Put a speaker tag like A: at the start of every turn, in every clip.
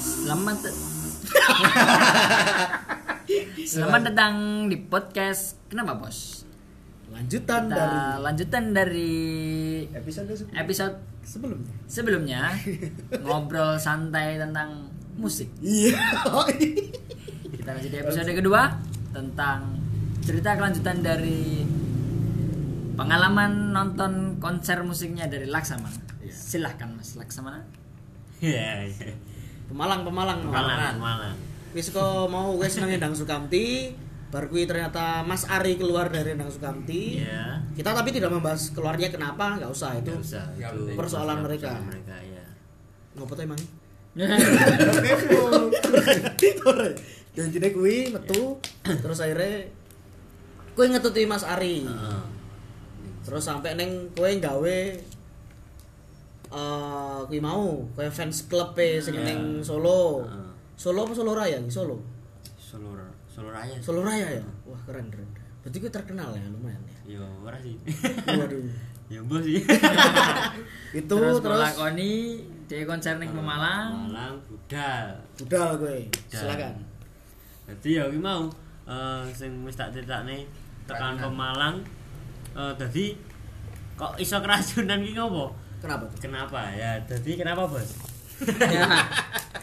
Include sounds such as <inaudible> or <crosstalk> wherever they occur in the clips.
A: Selamat
B: <laughs>
A: Selamat datang di podcast Kenapa Bos?
B: Lanjutan
A: Kita
B: dari
A: lanjutan dari
B: episode se-
A: episode
B: sebelumnya.
A: sebelumnya Ngobrol santai tentang musik
B: Iya.
A: Kita lanjut di episode kedua Tentang cerita kelanjutan dari Pengalaman nonton konser musiknya dari Laksamana
C: Iya.
A: Silahkan Mas Laksamana
C: Iya, iya.
B: Pemalang pemalang
C: Malang, malang.
B: Wis kok mau wis nang Endang Sukamti, bar kui ternyata Mas Ari keluar dari Endang Sukamti.
C: Iya.
B: Kita tapi tidak membahas keluarnya kenapa, nggak usah itu.
C: Nggak usah.
D: Nggak
C: itu
D: penting.
B: Persoalan mereka.
C: mereka, ya.
B: Ngopo tuh emang?
A: Iya
B: Dan jadi kui metu
C: Iya.
B: terus akhirnya kui ngetuti Mas Ari.
C: Heeh.
B: Hmm. Terus sampai neng kowe gawe eh kui mau, kowe fans klub e sing
C: Iya.
B: neng Solo.
C: Heeh.
B: Solo apa Solo Raya? Iya, Solo.
C: Solo, Solo Raya.
B: Solo Raya ya. Wah, keren keren. Berarti kui terkenal ya lumayan ya.
C: Yo, ora sih. <laughs>
B: Waduh.
C: ya mbah sih.
B: itu
A: terus,
B: terus,
A: melakoni di konser ning Pemalang
C: Malang budal.
B: budal gue. Silakan.
C: Dadi ya iki mau eh sing wis tak critakne tekan
D: Keracunan.
C: Pemalang. Eh dadi kok iso keracunan ki ngopo?
B: Kenapa tuh?
C: Kenapa? Ya, dadi kenapa, Bos?
A: ya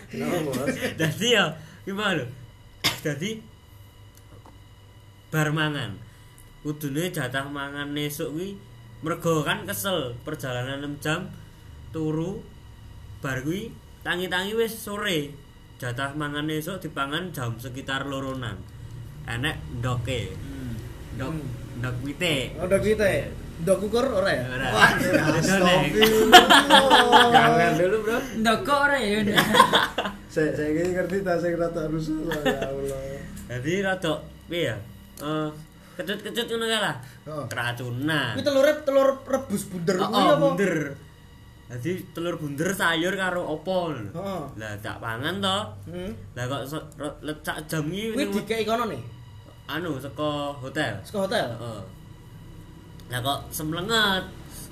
B: Kenapa,
C: <laughs>
B: Bos?
C: Dadi ya gimana lho? Dadi bar mangan. Kudune jatah mangan esuk kuwi mergo kan kesel perjalanan 6 jam turu bar kuwi tangi-tangi wis sore. Jatah mangan esuk dipangan jam sekitar loronan. Enek ndoke. Ndok ndok wite.
B: Oh, dok kita ya? Dok ukur ora ya?
C: Ora.
D: Kangen dulu bro.
A: ndoko ora
B: <laughs>
A: ya
D: Saya saya ini ngerti tak saya rata rusuh lah ya Allah.
C: Dadi rada piye ya? Eh kecut-kecut ngono kae lah.
D: Oh.
C: Keracunan.
B: Kuwi telur telur rebus bunder
C: Oh,
B: kuwi
C: oh,
B: apa?
C: bunder. Jadi telur bunder sayur karo opo lho.
B: Heeh.
C: Lah tak pangan to.
B: Hmm.
C: Lah kok se- ro- lecak jam iki
B: Kuwi
C: ning-
B: dikei kono nih,
C: anu saka hotel.
B: saka hotel.
C: Heeh. Lah kok semlenget.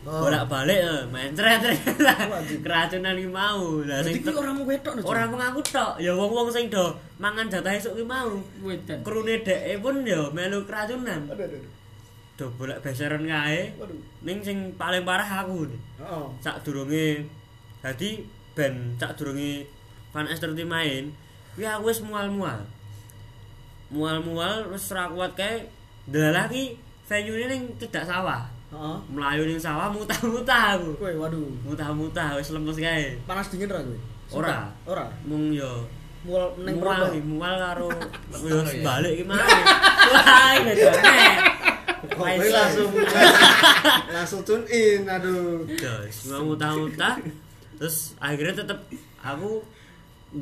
B: Oh.
C: Bolak-balik eh mencret.
B: Wajib.
C: Keracunan iki mau. Lah
B: Berarti
C: sing
B: kuwi ora mung wetok lho.
C: ora mengaku tok. Ya wong-wong sing do mangan jatah esuk ki mau.
A: Wedan.
C: Krune dheke pun ya melu keracunan.
D: Aduh aduh. aduh.
C: Do bolak beseran kae.
D: Waduh.
C: Ning sing paling parah aku.
B: Heeh.
C: cak durunge dadi ben cak durunge Van Esterti main kuwi aku wis mual-mual mual-mual wis ra kuat kae ndalah ki venue ning cedak sawah
B: Heeh.
C: mlayu ning sawah mutah-mutah aku
B: Kuwi waduh.
C: mutah-mutah wis lemes kae
B: Panas dingin ora kuwi?
C: Ora.
B: Ora.
C: mung yo
B: Mual neng
C: mual
B: perut.
C: ki, mual karo yo
D: Setengah ya.
C: balik ki mau <laughs> wah bedane
D: Kowe langsung langsung tune in aduh.
C: Terus gua mutah-mutah terus akhirnya tetep aku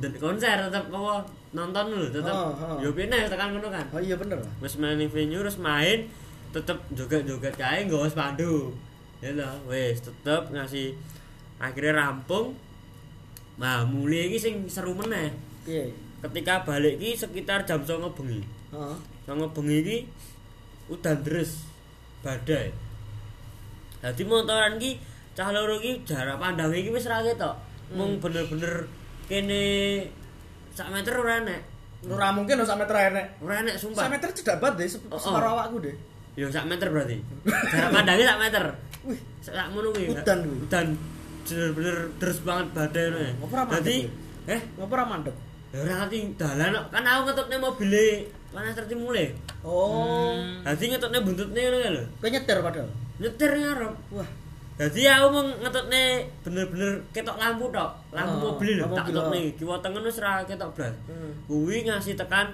C: dan konser tetep apa nonton dulu tetep
B: Oh, oh.
C: yo pina tekan ngono kan
B: Oh iya bener lah.
C: wis main ning venue terus main tetep joget-joget kae nggawa pandu ya lah wis tetep ngasih akhirnya rampung nah mulai iki sing seru meneh
B: Piye?
C: ketika balik iki sekitar jam 09.00 bengi Hmm.
B: Heeh.
C: Songo bengi iki udan deres badai. Dadi motoran iki cah loro iki jarak pandang iki wis ra ketok.
B: Hmm.
C: Mung bener-bener kene sak meter ora enek.
B: Ora mungkin lho sak meter enek.
C: Ora enek
B: Sak
C: sumpah.
B: meter cedak banget deh, se-
C: Oh, oh.
B: separuh awakku deh.
C: Ya sak meter
B: <laughs>
C: berarti. Jarak pandangnya sak meter.
B: Wih,
C: Sak ngono kuwi.
B: Udan kuwi.
C: Udan bener-bener deres banget badai ngono. ya.
B: Apa ora mandek
C: Dadi
B: kuwi?
C: eh
B: ngapa ora mandek?
C: ya ora ngerti dalan kok. kan aku ngetutne mobile panas tertimule.
B: Oh,
C: Dadi ngetutne buntutne ngono kae lho.
B: kau nyetir padahal.
C: Nyetir ngarep.
B: Wah,
C: Dadi aku mung ngetutne bener-bener ketok lampu tok, lampu
B: Oh,
C: mobil oh. lho
B: lampu
C: tak
B: mobil.
C: ketokne. Kiwa tengen wis ra ketok blas.
B: Hmm.
C: Kuwi ngasih tekan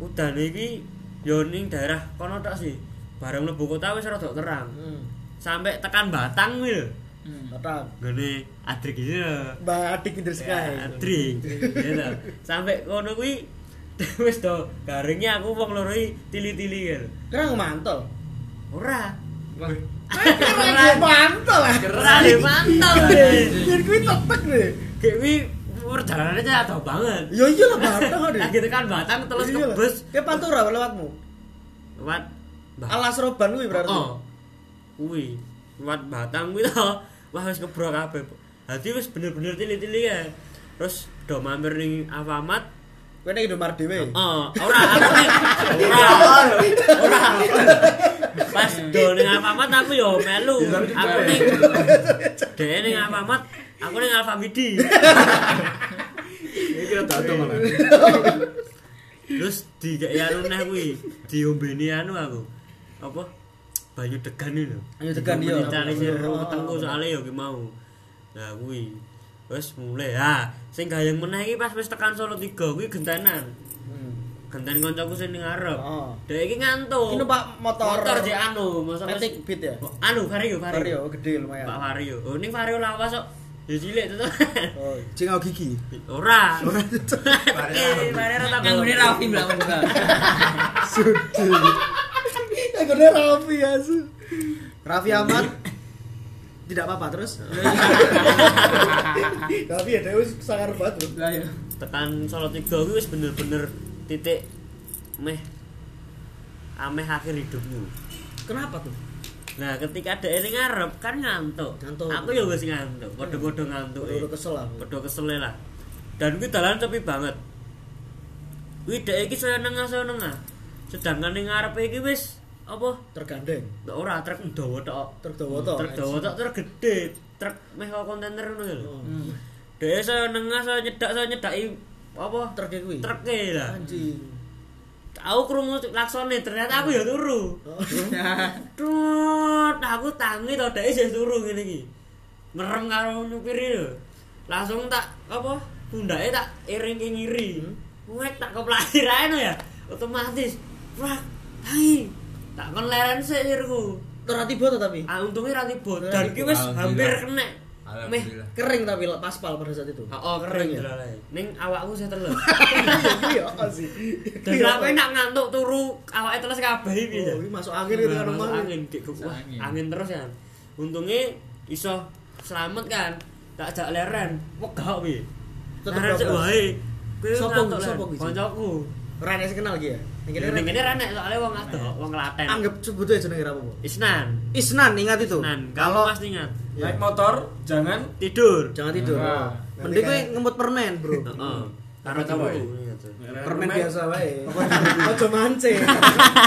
C: udane iki ya ning daerah kono tok sih. Bareng mlebu kota wis rada terang.
B: hmm.
C: Sampai tekan Batang kuwi lho. Hmm.
B: Datang.
C: Gone adrik iki lho.
B: Mbak Adik Indra Sky.
C: Ya, Adri. Ya toh. Sampai kono kuwi <laughs> wis to garingnya aku wong loro iki tili-tili kan.
B: Kira mantol.
C: Ora.
D: Wah.
B: Kira mantol lah.
C: Ora le mantap.
B: Biar gue tetek deh.
C: Kayak wi perjalanannya jatuh banget.
B: Ya iya lah batang deh.
C: Lagi tekan Batang terus ke bus
B: Kayak pantura lewatmu.
C: lewat Batang.
B: Alas roban gue berarti.
C: Oh. Kuwi lewat Batang kuwi to. Wah wis kebrok kabeh. Dadi wis bener-bener tili-tili ya. terus do mampir ning Alfamart
B: Kowe ning Indomaret dhewe.
C: Oh, ora aku nih. Ora. Ora. Pas do ning Alfamart aku yo melu. Aku ning Dhewe ning Alfamart, aku ning Alfamidi.
E: Ini kira tato malah.
C: Terus di ya anu neh kuwi, diombeni anu aku. Apa? Banyu degan iki lho.
B: Banyu degan, iya.
C: Dicari
B: Oh.
C: seru tengku soalé yo ki mau. Lah kuwi. Wes mulai ha. Sing gayeng meneh iki pas wis tekan Solo 3 kuwi gentenan. Genten koncoku sing ning ngarep.
B: Hmm. Oh.
C: Dhek iki ngantuk.
B: Ini numpak motor.
C: Motor jek anu, masa wis-
B: Matic Beat ya.
C: Oh, Anu Vario, Vario.
B: Vario gede
C: Pak
B: lumayan.
C: Vario. Oh, ning Vario lawas kok. Ya cilik to.
B: Oh,
E: Cingau gigi.
C: <laughs> Ora. <laughs> Eh, Vario tak
A: Yang ini Raffi bilang
B: <laughs>
A: enggak.
B: Aku udah Raffi ya su. Raffi Ahmad tidak apa-apa terus.
D: Tapi ya Dewi sangar banget loh.
B: Lah ya.
C: tekan Solo 3 kuwi wis bener-bener titik meh ameh akhir hidupmu.
B: Kenapa tuh?
C: Nah, ketika ada ini ngarep kan ngantuk.
B: Ngantuk.
C: Aku ya wis ngantuk. Padha-padha ngantuk. eh.
B: Udah kesel aku.
C: Padha kesel lah. Dan kuwi dalan sepi banget. Kuwi dhek iki seneng-seneng. Sedangkan ning ngarepe iki wis apa?
B: Tergandeng.
C: Ora truk dawa tok.
B: Truk dawa tok.
C: Truk dawa tok truk gede, truk meh kok kontainer ngono lho.
B: Oh.
C: Dhewe saya nengah saya nyedak saya nyedaki apa
B: Truk e kuwi.
C: truk e lah.
B: Anjing.
C: Aku krungu laksone ternyata aku ya turu.
B: Oh.
C: <laughs> Tut, aku tangi to dhek isih turu ngene iki. Merem karo nyupiri lho. Langsung tak apa pundake tak iring ke ngiri. Wek tak keplakir ae no ya. Otomatis. Wah, tangi. Tak kon leren sik sirku.
B: Ora tiba tuh tapi.
C: Ah, untungnya ra tiba.
B: Ra
C: Dan
B: tiba.
C: ki wis hampir
E: Alhamdulillah.
C: kena. Meh.
E: Alhamdulillah.
B: Kering tapi lah, paspal pada saat itu.
C: Oh, oh, kering
B: <laughs> Kering ya?
C: ya. Ning awakku saya
E: <laughs>
C: teles.
D: Iya apa sih.
C: Dan
B: Iya.
C: aku nak ngantuk turu, awake teles kabeh iki. ya.
B: Oh, ini masuk angin itu
C: Nah,
B: kan
C: masuk
B: rumah.
C: angin dik kok. Wah,
E: Angin.
C: angin terus kan. Untungnya iso selamat kan. Tak jak leren. Wegah piye.
B: Tetep
C: Leren sik
B: bablas.
C: wae. Kuwi
B: Sopo
C: ngantuk,
B: kuwi,
C: Len.
B: sopo kuwi, Jin?
C: Koncoku.
B: Rene sih kenal iki ya. Yang kene
C: Iya, Ning
B: Rene.
C: kene renek soalnya wong adoh, wong Klaten.
B: Anggap sebutnya jenenge apa, Bu?
C: Isnan.
B: Isnan ingat itu.
C: Isnan,
B: Kalau
C: kamu pasti ingat.
E: Naik motor jangan
C: Tidur.
B: jangan tidur.
D: Ah,
E: Nah.
B: Mending kowe ngemut permen, Bro.
C: <laughs> Heeh. Karo
E: Apa tau,
C: turu.
E: Boy?
B: Permen biasa wae. <laughs>
D: Ojo mancing. <laughs>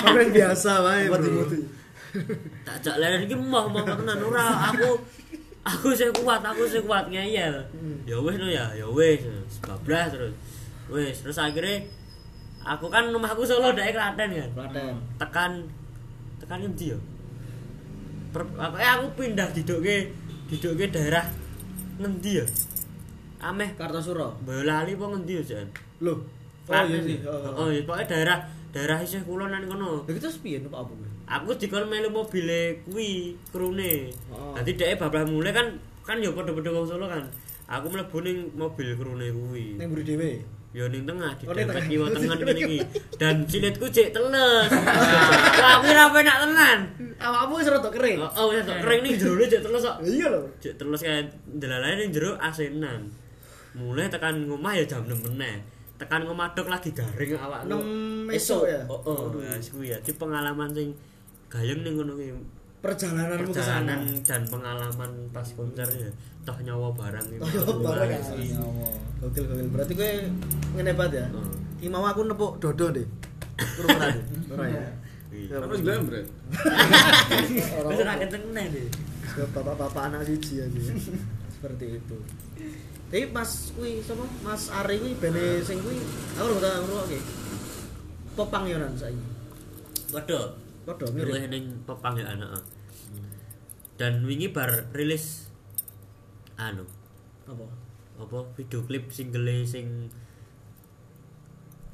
D: Permen biasa wae.
B: Buat
D: Bro.
B: dimuti.
C: tak jak leren iki moh moh tenan ora aku aku sing kuat aku sing kuat ngeyel ya wis no ya ya wis bablas terus wis terus akhirnya aku kan rumahku Solo dae Klaten kan
B: Klaten.
C: tekan tekan endi yo per, apa eh, aku pindah didoke didoke daerah ngendi ya ameh
B: Kartosuro.
C: Boyolali apa ngendi yo Jan
B: Loh. Oh iya sih.
C: oh iya pokoknya daerah daerah isih kulon nang kono
B: Begitu sepiye numpak apa kowe?
C: aku dikon melu mobile kuwi krune.
B: Oh.
C: Dadi dhek bablas mulai kan kan ya padha-padha wong Solo kan. Aku mlebu ning mobil krune kuwi.
B: Ning mburi dhewe.
C: Ya ning tengah di
B: Oh, ning
C: dempet
B: tengah.
C: kiwa tengen
B: <laughs>
C: ngene iki. Dan cilitku cek teles. Lah aku ra penak tenan.
B: Awakmu Hmm, wis rada kering.
C: Oh, wis tok kering ning jero cek teles kok.
D: Iya loh.
C: Cek teles kae delalane ning jero asenan. Mulai tekan ngomah ya jam 6 meneh. Tekan ngomah dok lagi garing awak.
B: 6 esok ya.
C: Oh, oh, ya, kuwi ya. Di pengalaman sing gayeng ning ngono kuwi.
B: Perjalananmu ke sana.
C: perjalanan dan pengalaman pas konser ya toh nyawa barang gitu.
B: Toh Oh, nyawa barang,
C: Asli.
B: Gokil gokil. Berarti kowe ngene banget ya.
C: Heeh.
B: Ki mau aku nepuk dodo deh. Hmm. <laughs> Kurang ora deh. Ora ya.
C: Iya.
E: Terus jambret.
C: Wis ora kenceng neh deh.
B: Sebab bapak-bapak anak siji <laughs> aja. Seperti itu. Tapi Mas kuwi sapa? Mas Ari kuwi bene sing kuwi aku ora tau ngrungokke. Popang yo nang saiki.
C: Waduh.
B: Padha
C: Luwih
B: mirip.
C: ning pepang ya anak. ah. Dan wingi bar rilis anu
B: Apa?
C: apa video klip single sing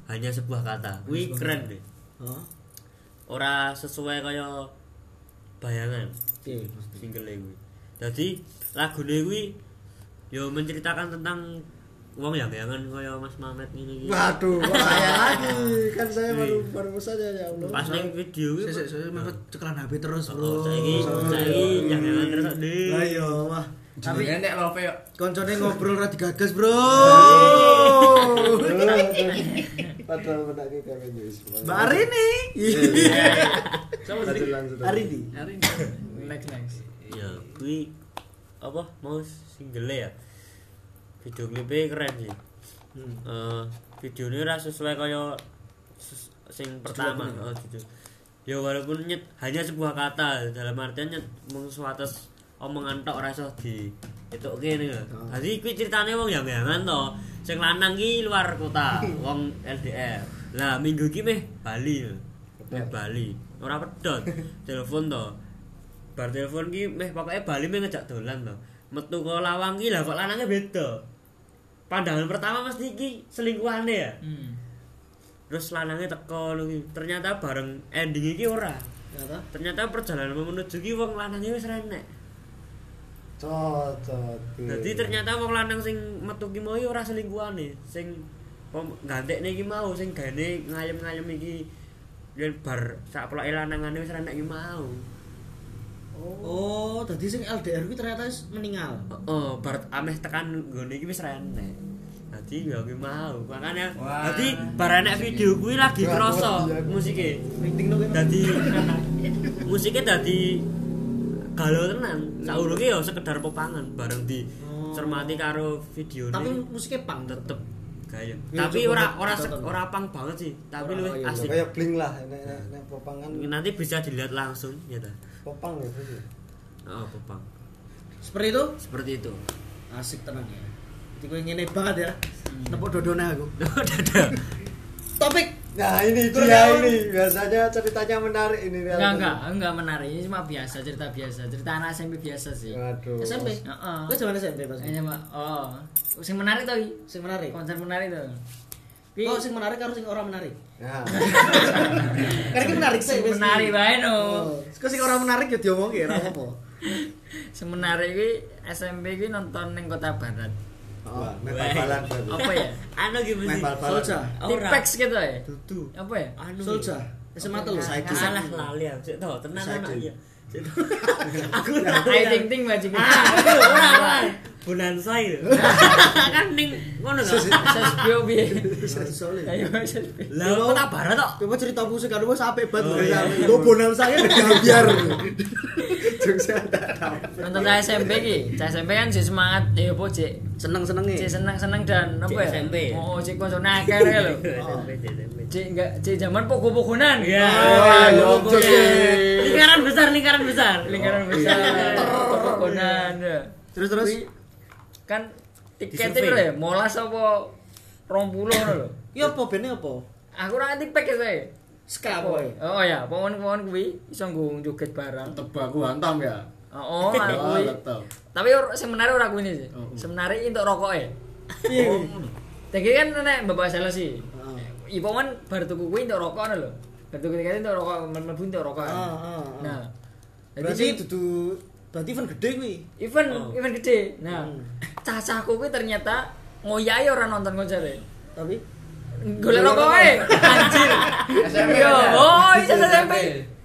C: hanya sebuah kata. Kuwi keren deh.
B: Hah?
C: Ora sesuai kaya bayangan.
B: Piye Mas?
C: single kuwi. Dadi lagune kuwi ya menceritakan tentang wong yang bayangan kaya Mas Mamet ngene iki.
D: Waduh, kok
B: <laughs>
D: saya lagi kan saya baru baru saja ya Allah.
C: Pas ning video kuwi.
B: Sesuk sesuk mepet cekelan HP terus,
C: Oh,
B: Bro.
C: saiki saiki yang bayangan terus kok, Dik.
B: Lah iya, wah.
E: Tapi nek lope yo.
B: <laughs> Koncone ngobrol ora digagas, <laughs> Bro.
D: Padahal menake kami wis.
B: Mbak Arini. <laughs>
D: Lanjut lanjut.
B: Arini.
A: Hari ini. Next next.
C: Ya kuwi apa mau single ya. video klipnya keren sih
B: Hmm.
C: Eh, videonya ora sesuai kaya ses- sing pertama oh, judul. ya walaupun nyet, hanya sebuah kata dalam artian nyet mung suatu s- omongan tok ora iso di itu kene lho. Dadi kuwi ceritane wong yang-yangan to. Sing lanang ki luar kota, wong LDR. Lah minggu iki meh Bali. lho. Meh Bali. Ora pedot. Telepon to. Bar telepon ki meh pokoke Bali meh ngejak dolan to. Metu kok lawang ki lah kok lanange beda. Pandangan pertama mesti iki selingkuhane ya.
A: Hmm.
C: Terus lanange teko lho ki. Ternyata bareng ending iki ora.
B: Ternyata
C: Ternyata perjalanan menuju ki wong lanange wis renek.
D: Cocot.
C: Jadi ternyata wong lanang sing metu ki mau ya ora selingkuhane, sing pem- gantekne iki mau sing gane ngayem-ngayem iki yen bar sak peloke lanangane wis renek iki mau.
B: Oh, tadi sing LDR kuwi ternyata wis meninggal.
C: Heeh, bar ameh tekan nggone iki wis renek. Dadi ya kuwi mau. Makanya
E: Wah.
C: dadi bar enek video kuwi lagi
D: Wah,
C: kroso
D: iya.
C: musike.
B: Ringting no kuwi.
C: Dadi <laughs> musike dadi galau tenan. Saurunge ya sekedar popangan bareng di cermati karo videone.
B: Tapi musiknya pang tetep.
C: tetep gaya
B: Iya,
C: tapi
B: coba
C: ora
B: lihat
C: ora
B: catatan.
C: ora pang banget sih tapi
B: Ora, iya,
C: lebih asik
D: kayak bling lah Ah, nek nek nek popang kan
C: nanti bisa dilihat langsung ya ta
D: popang ya Bu, ya.
C: oh popang
B: Seperti itu
C: seperti itu <laughs>
B: asik tenang ya. Jadi gue ngene banget ya. Nepuk dodona aku.
C: dadah
B: Topik
D: Nah ini dia
B: Kurniawan.
D: ini biasanya ceritanya menarik ini Real.
A: Enggak, enggak, enggak menarik. Ini cuma biasa, cerita biasa. Cerita anak SMP biasa sih.
D: Aduh.
B: SMP.
A: Oh. Heeh.
B: Gue zaman SMP pas.
A: Ini mah oh, sing menarik to iki.
B: Sing menarik.
A: Konser menarik to. Eh. Ki
B: Oh, sing menarik karo sing ora menarik.
D: Nah,
B: Karena iki menarik sih.
A: sing menarik bae no.
B: Oh, kok sing ora menarik ya diomongke ora apa-apa.
A: Sing menarik iki SMP iki nonton ning Kota Barat.
D: oh, main bal-balan berarti.
A: Apa ya?
B: Iya.
C: anu gimana
D: Main
C: sih
D: bal-balan.
B: Solja.
C: <laughs> Ora.
A: Tipex gitu ya.
D: Dudu.
A: Apa ya?
C: anu
B: Solja. SMA telu.
A: Saiki.
C: salah lali aku sik to tenan
D: Saiki.
C: anak ya Sik to. aku tak
A: Ayo ting ting bajiku.
C: ah
A: <laughs>
C: aku ora ora bulan saya <laughs> kan ning ngono gak
A: Sesbio piye?
B: Solja.
A: Ayo sesbio.
C: lah kota barat tok
B: Coba cerita musik kan wis apik banget.
C: Oh,
B: Wes
C: iya.
B: apik. Lo bonal saya udah biar.
D: Jogja tak tahu.
A: Nonton saya SMP ki. Saya SMP kan sih semangat ya opo Cik? Cik
B: Seneng-senenge.
A: seneng-seneng dan apa ya?
C: SMP ya?
A: Oh, Cik konsone akeh ya
C: <laughs>
A: lho.
C: SMP SMP
A: Cik enggak Cik zaman pogo-pogonan.
C: Iya.
A: Ah,
D: Iya,
A: pogo-pogonan.
D: Cik.
C: lingkaran besar lingkaran besar
A: Lingkaran besar. Pogo-pogonan. ya.
B: Terus terus.
A: Kan tiketnya
C: Disurvey.
A: itu ya, molas apa 20 ngono lho.
B: Ya apa bene apa?
A: Aku ora ngerti pack saya.
B: Ska
A: Oh,
B: apa? ya?
A: oh ya, pohon-pohon kuwi iso nggo joget bareng.
C: <laughs>
E: Tebak aku hantam ya.
A: Oh, lah
E: Oh,
A: kuwi.
E: tetep.
A: Tapi or- sing menarik ora kuwi sih.
E: Oh, oh.
A: Sing menarik iki untuk rokok e.
B: Piye?
A: Tegi kan nek Bapak Sales sih.
E: Oh.
B: Heeh.
A: Ibu kan baru tuku kuwi untuk rokok ngono lho. Baru tuku tiketnya untuk rokok, mlebu untuk rokok.
E: Oh,
B: Ah, ah, ah.
A: Nah. Jadi
B: Berarti
A: sing
B: dudu berarti event gede kuwi.
A: event
C: Oh.
A: event gede. Nah,
E: Hmm.
A: cacahku kuwi ternyata ngoyahi ora nonton konsere.
B: Tapi
A: Golek rokok ae. Anjir.
E: SMP
A: Yo,
E: kan?
A: oh, itu SMP.
E: SMP.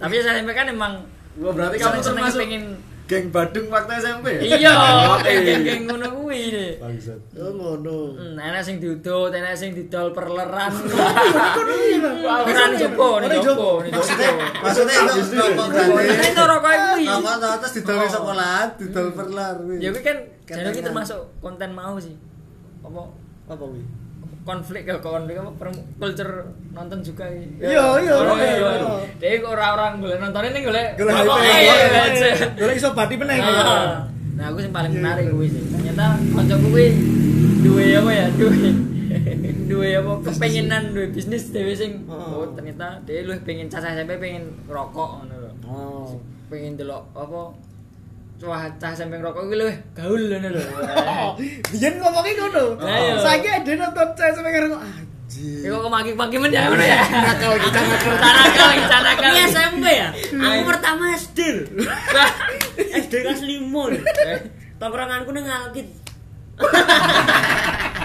A: Tapi SMP kan emang
E: Wah, Oh, berarti kamu
A: seneng
E: termasuk
A: pengen
E: geng Badung waktu SMP.
A: iya,
E: <laughs> Oke.
A: geng-geng ngono kuwi.
D: Bangsat.
B: oh ngono.
A: Hmm, enak sing diudut, enak sing didol
B: <laughs>
A: perleran.
B: Ora
A: Perleran jopo, nih jopo, nih jopo.
D: Maksudnya itu rokok gratis.
A: Ini to rokok kuwi.
D: Rokok tau, terus didol wis sekolah, didol perlar. wih.
A: Oh. Ya kuwi kan jane
D: Ketengan.
A: iki termasuk konten mau sih. Apa
B: Apa kuwi?
A: konflik ya konflik apa perm- culture nonton juga iki.
B: Iya, iya,
A: Orang-
B: iya,
A: iya.
B: iya.
A: Dek kok ora orang golek nontonin ning golek.
D: Golek
A: rokok
D: HP.
A: ae,
D: Golek
A: aja.
B: <laughs> Golek iso badi meneh.
A: Ah. Nah, aku sing paling menarik kuwi sih. Ternyata kanca kuwi duwe apa ya? Duwe duwe apa kepengenan duwe bisnis dhewe sing
B: Oh.
A: oh ternyata dhewe luwih pengen cacah SMP pengen rokok ngono lho.
B: Oh.
A: Pengen delok apa Wah, cah SMP rokok kuwi luwih gaul ngono lho.
B: Biyen ngomongi ngono.
A: Lah, iya.
B: Saiki ada nonton saya sampe "Ah, karo anjir.
A: Ya kok kemaki-maki men ya ngono ya.
B: Nakal iki
A: <laughs>
B: nakal.
A: Canakal, iki canakal.
C: Ini SMP ya? Aku pertama SD lho. <laughs> SD kelas 5. Tongkronganku ning Alkit. <laughs>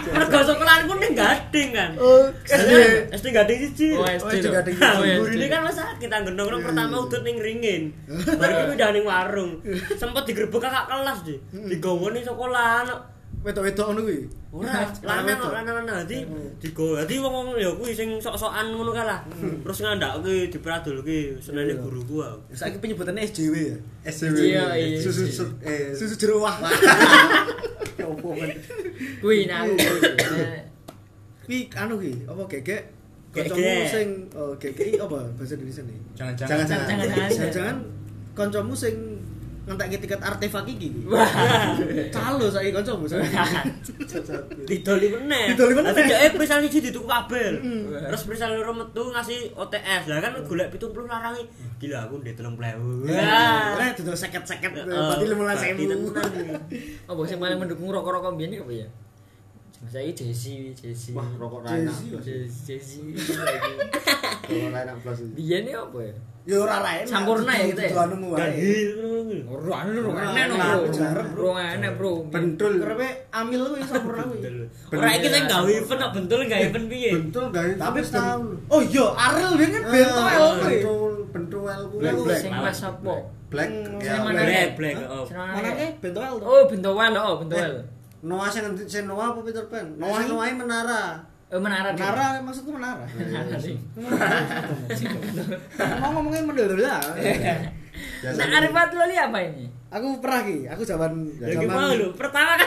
C: Mergo sekolahanku ning Gading kan.
B: Oh,
C: SD SD Gading siji.
A: Oh, SD.
D: Oh, juga ada
A: lho.
C: Nah,
A: Oh, SD.
C: Gurine kan masa kita nongkrong pertama udut ning ringin. Baru pindah ning warung. Sempet digerebek kakak kelas deh.
B: Hmm.
C: Digawoni sekolahan kok.
D: Wedok-wedok ngono kuwi.
C: Ora, lanang kok lanang dadi digo. Dadi wong wong ya kuwi sing sok-sokan ngono ka lah.
B: Hmm.
C: Terus ngandhakke diperadolke senene guruku aku.
B: Saiki penyebutannya SJW ya.
D: SJW.
A: Iya, iya.
D: <laughs> Susu su- eh susu jeruah. opo men.
A: Kuwi nah aku.
B: Kuwi anu ki, apa gegek?
C: Gegek.
B: Kancamu sing oh gegek iki apa bahasa Indonesia nih?
D: Jangan
A: Jangan,
D: jangan.
A: jangan.
B: Jangan-jangan kancamu sing ngentekke tiket artefak iki. ki.
A: Wah.
B: Calo saiki kancamu.
C: Didoli meneh.
B: Didoli meneh. Hmm.
C: Tapi dhek pesan siji dituku kabel. Terus pesan loro metu ngasih OTS. Lah kan golek 70 larangi. Gila aku ndek 30.000.
B: Nah, dudu seket-seket berarti
C: Berarti
B: 15.000.
A: Apa sing paling mendukung rokok-rokok mbiyen apa ya? Cuma saya Jesse, Jesse.
E: Wah, rokok ra enak.
B: Jezi.
A: Jesse.
E: Rokok ra enak plus iki.
A: Biyen iki apa ya?
D: Ya ora ra enak.
A: Sampurna ya kita ya?
D: Tujuanmu wae.
C: Ganjil ngono.
A: Ora ana ora ana no, bro.
B: Nah,
D: jarang.
A: Bro ana bro.
D: Bentul.
B: Karepe e amil kuwi sampurna kuwi.
C: Ora iki sing gawe event kok bentul gawe event piye?
D: Bentul gawe.
B: Tapi
D: terus
B: tahu.
D: bentul.
B: Oh iya, Ariel dia kan bento
D: Ah,
B: elok kuwi.
D: Bentul, bentul elku.
E: Black, black.
A: Sing pas apa?
E: Black
B: Hmm,
E: ya.
A: Sing mana?
C: Black,
A: Hah?
C: black, oh.
A: Sing mana?
B: Mana eh bento elok.
A: Oh, bentowal oh, bentowal.
D: Eh. Noah sing ngendi sing Noah apa Peter Pan?
B: Sing-
D: Noah Noah menara.
A: Eh menara. Dek.
B: Menara maksudku menara.
A: Menara, Dek.
B: Ngomong ngomongnya mendel lah.
E: Biasa
A: Nah,
E: ini.
A: Arif Fatulali apa ini?
B: Aku pernah ki, aku zaman
C: Ya iki mau
B: zaman
C: lho, pertama
B: <laughs>
C: kan.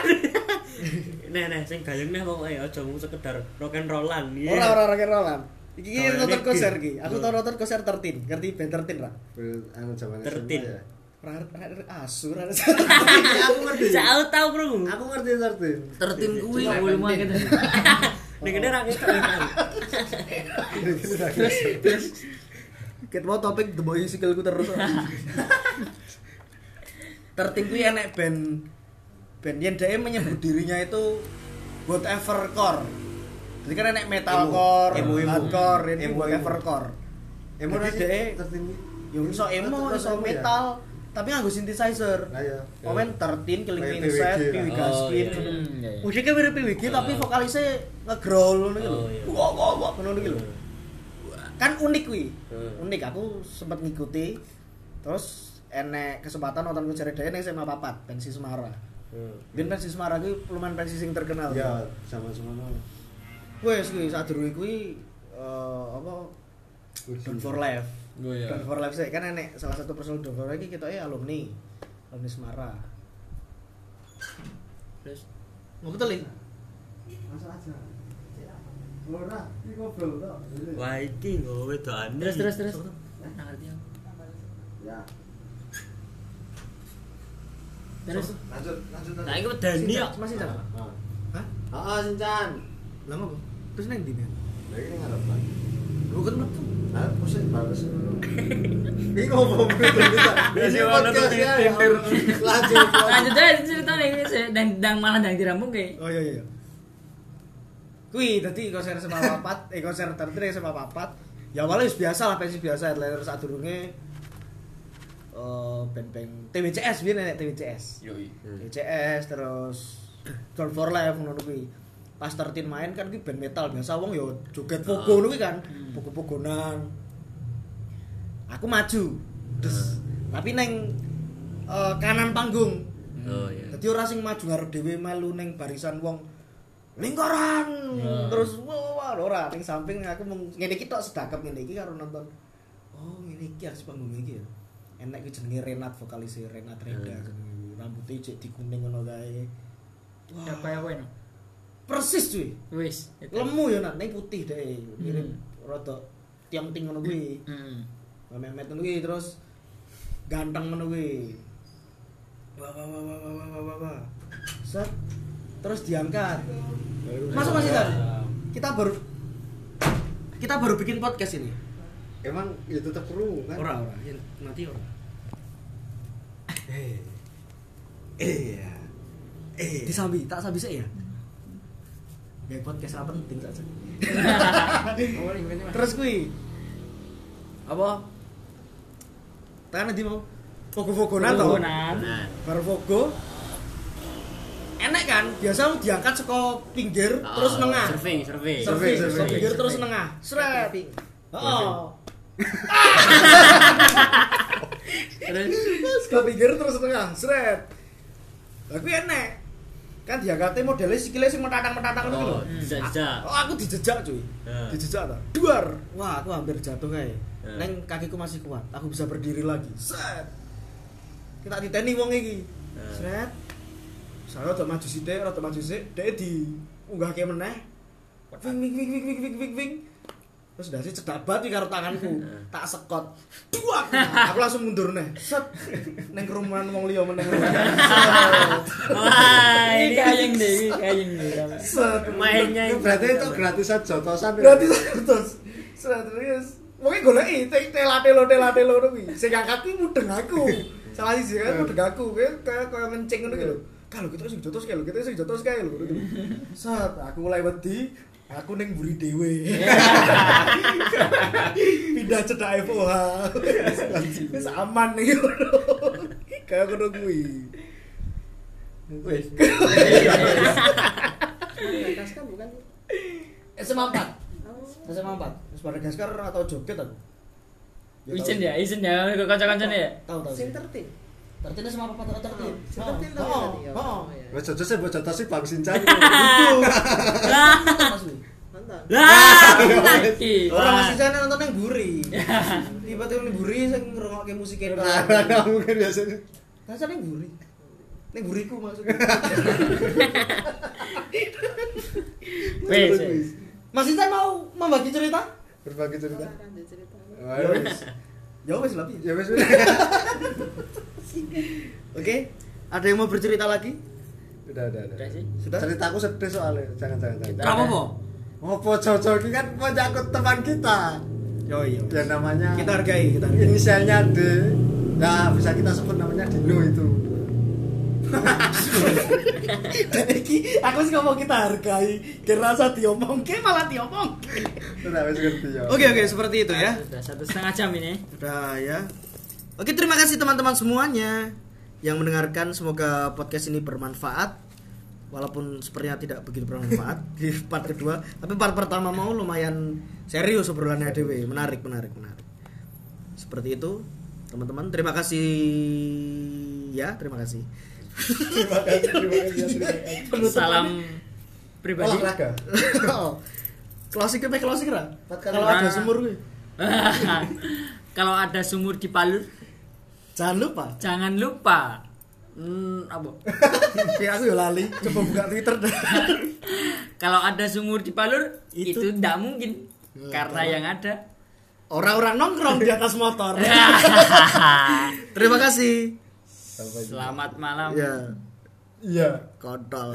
C: Neh neh sing gayeng neh pokoke aja mung sekedar rock and rollan. Iya.
B: ora ora rock and rollan. Iki ki
C: Kawanane
B: nonton konser ki.
C: Bill.
B: Aku tau nonton konser 13, ngerti band 13 ra?
E: Ber- Anu zaman SMA
C: Tertin.
E: ya.
B: Ra ra- asur ra.
D: Aku ngerti.
C: Jauh tau bro.
E: ya.
D: Aku ngerti tertin.
A: Tertim kuwi
E: Cuma
A: volume kita.
C: Ning kene ra
B: <laughs>
C: ketok.
B: Ket mau topik the boy sikilku terus. 13 kuwi enek band band yang dia e menyebut dirinya itu whatever core. Jadi kan enek metalcore,
D: Emo, emo.
B: hardcore, ini
D: Emo, emo.
B: whatever core.
D: Emo
B: Jadi
D: nasi
B: dhek-
D: tertin.
B: Ya iso emo,
D: Tetep
B: iso
D: emo ya?
B: metal, tapi nganggo synthesizer. Oh,
E: Lah ya.
B: Komen 13 Killing
E: Kayak
B: Insect,
E: PWG
B: Piwi
E: lah.
B: Gaskin.
C: Oh, iya.
A: Hmm, ya, ya.
B: Musiknya mirip Piwi Gaskin, tapi
C: Oh.
B: vokalisnya nge-growl ngono iki lho.
C: Oh, iya.
B: Wah wah wah ngono iki lho. Kan unik kuwi.
C: Hmm.
B: Unik aku sempat ngikuti terus enek kesempatan nonton konser dhewe ning SMA Papat, Pensi Semara. Ben Pensi Semara kuwi lumayan pensi sing
D: Oh.
B: terkenal.
E: Ya, zaman semono.
B: Wes kuwi sadurunge kuwi eh, apa Don for Life.
E: Oh, iya.
B: Don for Life sih kan enek salah satu personel Don for Life iki ketoke alumni. Alumni Semara.
A: Terus
B: Ngopo to, Lin?
D: Masuk aja. Ora, iki ngobrol tok.
C: Wah iki nggo wedokane.
A: terus terus terus. Nah, ngerti aku.
D: Ya.
A: Terus
D: Lanjut, lanjut.
C: Nah iki
B: Eh,
C: wedani kok.
B: Masih jalan. Hah?
E: Heeh, Sincan.
B: Lah ngopo? Terus nang ndi, Nen?
E: Lah iki ngarep Bang.
B: Lu kan mlebu.
E: Nah, pusing banget sih. Ini ngomong berita.
C: Ini
E: Ini
C: podcast
E: podcast
C: ya,
E: ya.
C: yang
E: Lanjut.
A: lanjut aja cerita nih saya dan dan malah dan dirampung kayak.
B: Oh iya iya. Kuwi dadi konser SMA Papat, <laughs> eh konser tertri SMA Papat. Ya awalnya wis biasa lah, pensi biasa headliner sadurunge eh band-band TWCS biyen enek TWCS.
E: Yoi.
A: iya.
B: ECS E terus Don for Life ngono kuwi. Pas 13 main kan kuwi band metal biasa wong yo joget pogo ngono kuwi kan, pogo-pogonan. Aku maju. Des. Tapi neng eh, kanan panggung.
C: Oh iya.
B: Dadi ora sing maju ngarep dhewe melu neng barisan wong lingkaran. Terus wah wah, wah ora ning samping aku mung- ngene iki tok sedakep ngene iki karo nonton. Oh, ngene iki harus panggung iki ya. Enak iki jenenge Renat vokalis Renat Reda. jenenge. Rambutnya cek dikuning ngono kae. Wah,
A: Apa ya bueno?
B: persis cuy.
A: Wis. gitu. itu.
B: Lemu ya nak, ning putih deh. Mirip rada tiang ting ngono kuwi.
A: Hmm.
B: Memet ngono kuwi terus ganteng ngono kuwi. Wah wah wah wah wah wah wah wah. Set terus diangkat.
E: ya.
B: Masuk Mas Intan. Kita baru kita baru bikin podcast ini.
E: Emang ya tetep kru kan?
B: Ora ora, yang mati ora. Eh. Eh. ya. Eh. Disambi, tak sambi sik ya. Gak podcast ra penting saja. <laughs> Terus kui apa? Tangan di mau fogo-fogonan tau
A: Turunan.
C: Nah.
B: Baru fogo enak kan biasa diangkat saka pinggir
C: oh,
B: terus nengah
C: Surfing, surfing.
B: survei
E: Survei, survei.
B: pinggir terus nengah seret oh
A: Terus
B: Saka pinggir terus tengah, seret. Tapi enek. Kan diangkatnya modelnya sikile sing metatang-metatang ngono
C: Oh,
B: lho.
C: jejak-jejak.
B: Oh, aku dijejak, cuy.
C: Heeh.
B: Dijejak ta. Duar. Wah, aku hampir jatuh kae.
C: Heeh.
B: Neng kakiku masih kuat. Aku bisa berdiri lagi. Seret. Kita titeni wong iki.
C: Heeh.
B: Seret. Soalnya rada maju sithik, rada maju sithik, dhek di unggahke meneh. Wing wing wing wing wing wing wing wing. Terus ndase cedak banget iki karo tanganku, tak sekot. Duak. Aku langsung mundur neh. Set. Ning kerumunan wong liya
C: <laughs>
B: meneh.
C: Wah,
A: Ini
C: ini
A: kayang deh, ini kayang deh.
B: Set.
C: mainnya
E: Itu
C: ini.
E: berarti itu gratisan jotosan. ya?
B: Berarti terus. Set terus. Mungkin goleki te- telate lo telate lo kuwi. Sing angkat kuwi mudeng <laughs> aku. Salah siji kan mudeng aku kuwi kaya kaya ngencing ngono ki lho. Kalau kita sing jotos kae lho, kita sing jotos kae lho. <laughs> gitu. Set aku mulai wedi, aku ning mburi dhewe. Pindah cedak FOH. Wis aman nih ngono. Kaya ngono kuwi.
E: Wis.
B: Madagaskar bukan SMA 4
D: Oh.
B: SMA 4 Madagaskar atau joget aku
A: Izin ya, izin ya, ke kanca-kancane ya.
B: tahu tahu
D: Sing tertib.
B: tertib sama apa tertib tertib
D: Sing tertib tau ya tadi ya.
B: oh
D: Oh, ya.
E: Wis jotos sih buat jotos sih Bang Sincan. <laughs>
D: Nonton.
A: Ah,
C: Lah,
A: Lagi.
B: orang masih sana nonton yang buri tiba-tiba yang buri saya ngerungok musik kita
E: Nah, mungkin ya sih.
B: rasa yang buri yang buriku maksudnya
A: Wes.
B: Mas Intan mau membagi cerita?
E: Berbagi cerita.
D: Kan ada cerita.
E: Ayo Ah, wis.
B: <laughs> Ya wes lah Pi.
E: Ya wis. wis.
B: <laughs> Oke, ada yang mau bercerita lagi?
E: Udah, udah, udah.
A: Udah sih.
B: Sudah?
E: Ceritaku sedih soalnya. Jangan, jangan, jangan.
A: Kamu apa?
E: Ngopo Jojo ini kan menyangkut teman kita.
B: Yo iya.
E: Yang namanya
B: Kita hargai, kita
E: <laughs>
B: hargai.
E: inisialnya D. Ya, bisa kita sebut namanya Dino itu.
B: Dan iki aku sih ngomong kita hargai, kerasa diomong ke malah diomong.
E: Udah wis ngerti ya.
B: Oke oke seperti itu ya.
A: Sudah satu setengah jam ini.
B: Udah ya. Oke terima kasih teman-teman semuanya yang mendengarkan. Semoga podcast ini bermanfaat. Walaupun sepertinya tidak begitu bermanfaat di part kedua, tapi part pertama mau lumayan serius obrolannya Dewi, menarik, menarik, menarik. Seperti itu, teman-teman. Terima kasih ya, terima kasih. <laughs>
E: Terima kasih, terima kasih, terima kasih.
A: Salam pribadi.
E: Olahraga.
B: <laughs> Oh. Closing ke closing ra?
E: kali.
B: Kalau ada sumur kuwi.
A: Ah. <laughs> Kalau ada sumur di Palur,
B: Jangan lupa.
A: jangan lupa Hmm, apa?
B: Ya aku ya lali, coba buka Twitter dah.
A: Kalau ada sumur di Palur, itu
B: Itu- Iya.
A: tidak mungkin karena yang ada.
B: Orang-orang nongkrong di atas motor. <laughs> Terima kasih.
E: Sampai jumpa.
A: <laughs> Selamat malam.
B: Ya,
E: Iya.
B: kontol.